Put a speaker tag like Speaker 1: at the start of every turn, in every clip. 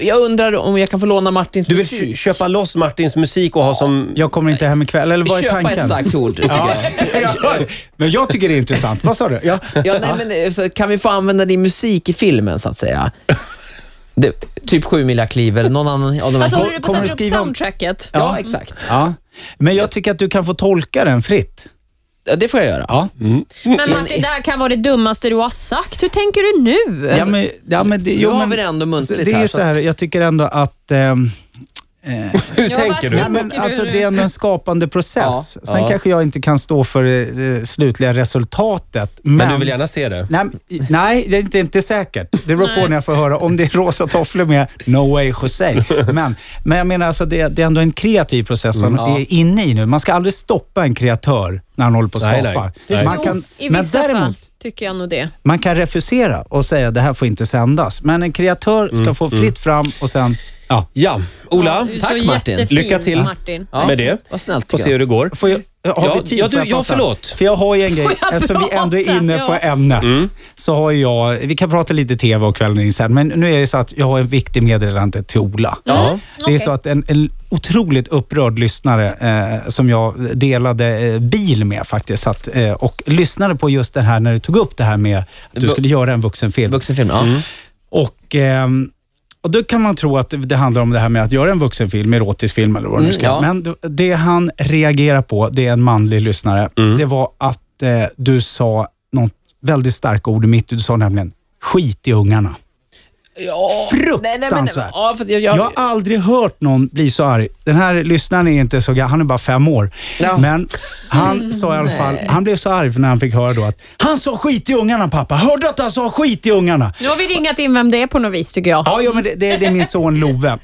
Speaker 1: Jag undrar om jag kan få låna Martins
Speaker 2: Du vill
Speaker 1: musik.
Speaker 2: kö- köpa loss Martins musik och ha som...
Speaker 3: Jag kommer inte hem ikväll. Eller vad är
Speaker 1: Köpa
Speaker 3: tanken?
Speaker 1: ett starkt ord, tycker
Speaker 3: Ja.
Speaker 1: jag.
Speaker 3: Men jag tycker det är intressant. Vad sa du? Ja.
Speaker 1: Ja, nej, men, eh, så kan vi få använda din musik i filmen, så att säga? Det, typ sju mila kliv eller någon annan av de här.
Speaker 4: Alltså håller du på att
Speaker 3: kommer du
Speaker 4: sätta upp
Speaker 3: skriva om-
Speaker 4: soundtracket?
Speaker 1: ja, exakt.
Speaker 3: Ja. Men jag tycker att du kan få tolka den fritt.
Speaker 1: Ja, det får jag göra.
Speaker 3: Ja.
Speaker 4: Men man, det där kan vara det dummaste du har sagt. Hur tänker du nu?
Speaker 3: Ja, men, ja, men det,
Speaker 1: Nu
Speaker 3: jo,
Speaker 1: har
Speaker 3: men,
Speaker 1: vi det ändå muntligt
Speaker 3: så det är
Speaker 1: här,
Speaker 3: ju
Speaker 1: så
Speaker 3: så här, jag tycker ändå att... ehm,
Speaker 2: Hur
Speaker 4: Ja,
Speaker 2: tänker du?
Speaker 4: verkligen.
Speaker 3: Nej, men
Speaker 4: Tänker du
Speaker 3: alltså,
Speaker 4: nu?
Speaker 3: det är ändå en skapande process.
Speaker 1: Ja,
Speaker 3: Sen
Speaker 1: ja.
Speaker 3: kanske jag inte kan stå för det slutliga resultatet. Men,
Speaker 2: Men du vill gärna se det?
Speaker 3: Nej, men- nej, det är inte, inte säkert. Det beror på när jag får höra om det är rosa tofflor med No way Jose. Men, men jag menar, alltså, det, det är ändå en kreativ process som
Speaker 2: Mm,
Speaker 1: Ja.
Speaker 3: vi är inne i nu. Man ska aldrig stoppa en kreatör när han håller på att
Speaker 2: Nej,
Speaker 3: skapa.
Speaker 2: nej. Nej.
Speaker 3: Man kan,
Speaker 4: I
Speaker 3: men
Speaker 4: vissa fall
Speaker 3: däremot,
Speaker 4: tycker jag nog det.
Speaker 3: man kan refusera och säga det här får inte sändas. Men en kreatör ska
Speaker 2: Mm,
Speaker 3: få fritt fram och sen... Ja.
Speaker 2: Ja, Ola.
Speaker 4: Du är
Speaker 1: tack,
Speaker 4: så
Speaker 1: Martin.
Speaker 4: jättefin,
Speaker 2: Lycka till.
Speaker 4: Martin.
Speaker 1: Ja.
Speaker 2: Med det.
Speaker 1: Vad snällt,
Speaker 2: Får
Speaker 1: tycker
Speaker 2: se hur
Speaker 1: jag.
Speaker 2: det går.
Speaker 3: Får jag, har
Speaker 2: Ja,
Speaker 3: vi tid
Speaker 2: ja,
Speaker 3: för
Speaker 2: du,
Speaker 3: att
Speaker 2: ja,
Speaker 3: prata?
Speaker 2: förlåt.
Speaker 3: För jag har ju en grej,
Speaker 4: Får jag
Speaker 3: eftersom vi ändå
Speaker 4: prata?
Speaker 3: är inne på
Speaker 4: Ja.
Speaker 3: ämnet, så har jag, vi kan prata lite TV och kvällen in sen, men nu är det så att jag har en viktig meddelande till Ola.
Speaker 4: Ja.
Speaker 3: Det är
Speaker 4: Okej.
Speaker 3: så att en, en otroligt upprörd lyssnare eh, som jag delade eh, bil med faktiskt, satt, eh, och lyssnade på just det här när du tog upp det här med att du
Speaker 1: Vu-
Speaker 3: skulle göra en vuxenfilm.
Speaker 1: Vuxenfilm, ja.
Speaker 3: Och, ehm, och då kan man tro att det handlar om det här med att göra en vuxenfilm, erotisk film eller vad det nu
Speaker 1: Mm,
Speaker 3: ska.
Speaker 1: ja.
Speaker 3: Men d- det han reagerar på, det är en manlig lyssnare,
Speaker 1: Mm.
Speaker 3: det var att eh, du sa något väldigt starka ord mitt i. Du sa nämligen skit i ungarna.
Speaker 1: ja.
Speaker 3: Fruktansvärt.
Speaker 1: ja, för att jag,
Speaker 3: Jag
Speaker 1: jag,
Speaker 3: har aldrig hört någon bli så arg. Den här lyssnaren är inte så gammal, han är bara fem år.
Speaker 1: Ja. Mm,
Speaker 3: Men han sa i alla fall, han blev så arg för när han fick höra då att han sa skit i ungarna pappa. Hörde du att han sa skit i ungarna?
Speaker 4: Nu har vi ringat in vem det är på något vis tycker jag.
Speaker 3: Ja, ja men det, det, det är min son Love.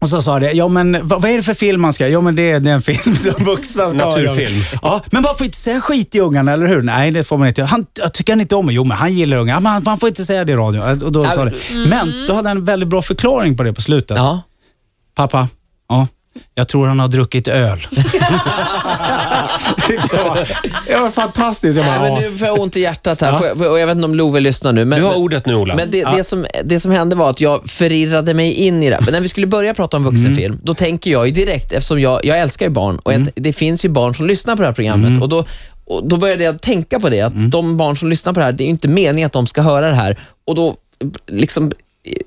Speaker 3: Och så sa det, ja men vad, vad är det för film man ska Ja men det är den film som vuxna ska ha.
Speaker 2: Naturfilm.
Speaker 3: Ja, men man får inte säga skit i ungarna, eller hur? Nej, det får man inte. Han, jag tycker han inte om mig. Jo, men han gillar ungar. Ja, men han- man får inte säga det i radio. Och då sa det.
Speaker 4: Mm.
Speaker 3: Men då hade han en väldigt bra förklaring på det på slutet.
Speaker 1: ja.
Speaker 3: Pappa, ja, jag tror han har druckit öl. det, var, det var fantastiskt. Jag
Speaker 1: Nej,
Speaker 3: bara,
Speaker 1: men
Speaker 3: ja.
Speaker 1: nu får jag ont i hjärtat här. Får Jag, och jag vet inte om Love lyssnar nu. Men,
Speaker 2: Du har ordet nu, Ola.
Speaker 1: Men det, det, som, det som hände var att jag förirrade mig in i det. Men när vi skulle börja prata om vuxenfilm,
Speaker 3: Mm.
Speaker 1: då tänker jag ju direkt, eftersom jag, jag älskar ju barn och ett, det finns ju barn som lyssnar på det här programmet.
Speaker 3: Mm.
Speaker 1: Och då, och då började jag tänka på det, att de barn som lyssnar på det här, det är ju inte meningen att de ska höra det här. Och då, liksom,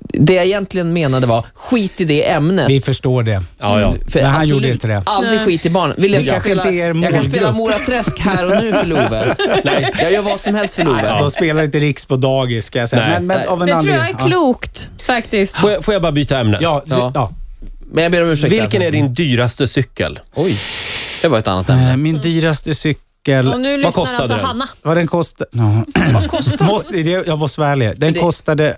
Speaker 1: det jag egentligen menade var, skit i det ämnet.
Speaker 3: Vi förstår det.
Speaker 2: Ja, ja.
Speaker 1: För
Speaker 3: Men han
Speaker 1: absolut
Speaker 3: gjorde inte det.
Speaker 1: Aldrig skit i barn. Vill jag,
Speaker 3: Det
Speaker 1: ska
Speaker 3: kanske
Speaker 1: spela,
Speaker 3: inte är er
Speaker 1: jag kan spela
Speaker 3: målgrupp.
Speaker 1: Mora Träsk här och nu för Love. Jag gör vad som helst för Love.
Speaker 3: De spelar inte Riks på dagis, ska jag säga.
Speaker 2: Nej.
Speaker 3: Men, men, av en
Speaker 4: Det tror jag
Speaker 3: anledning.
Speaker 4: är klokt faktiskt.
Speaker 2: Får jag, får jag bara byta ämne?
Speaker 3: Ja, ja.
Speaker 1: Ja.
Speaker 3: ja.
Speaker 1: Men jag ber om ursäkt.
Speaker 2: Vilken
Speaker 1: därför.
Speaker 2: är din dyraste cykel?
Speaker 1: Oj, det var ett annat
Speaker 3: Eh,
Speaker 1: ämne.
Speaker 3: Min dyraste cykel...
Speaker 4: Och nu
Speaker 2: Vad
Speaker 4: lyssnar
Speaker 2: kostade
Speaker 4: alltså
Speaker 2: den?
Speaker 4: Hanna.
Speaker 3: Vad den kostade... No. måste, det, jag måste vara ärlig. Den
Speaker 1: det-
Speaker 3: kostade...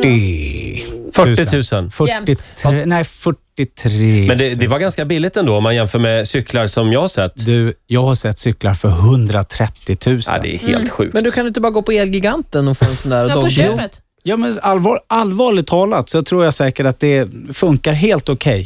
Speaker 3: 40...
Speaker 2: 40 000.
Speaker 3: 43, eh, nej, 43.
Speaker 2: Men det, det var ganska billigt ändå om man jämför med cyklar som jag har sett.
Speaker 3: Du, jag har sett cyklar för 130 000.
Speaker 2: Ja, det är helt sjukt.
Speaker 1: Men du kan inte bara gå på Elgiganten och få en sån där
Speaker 4: Ja, på
Speaker 1: dog-
Speaker 4: köpet.
Speaker 3: Ja, men allvar, allvarligt talat så tror jag säkert att det funkar helt okej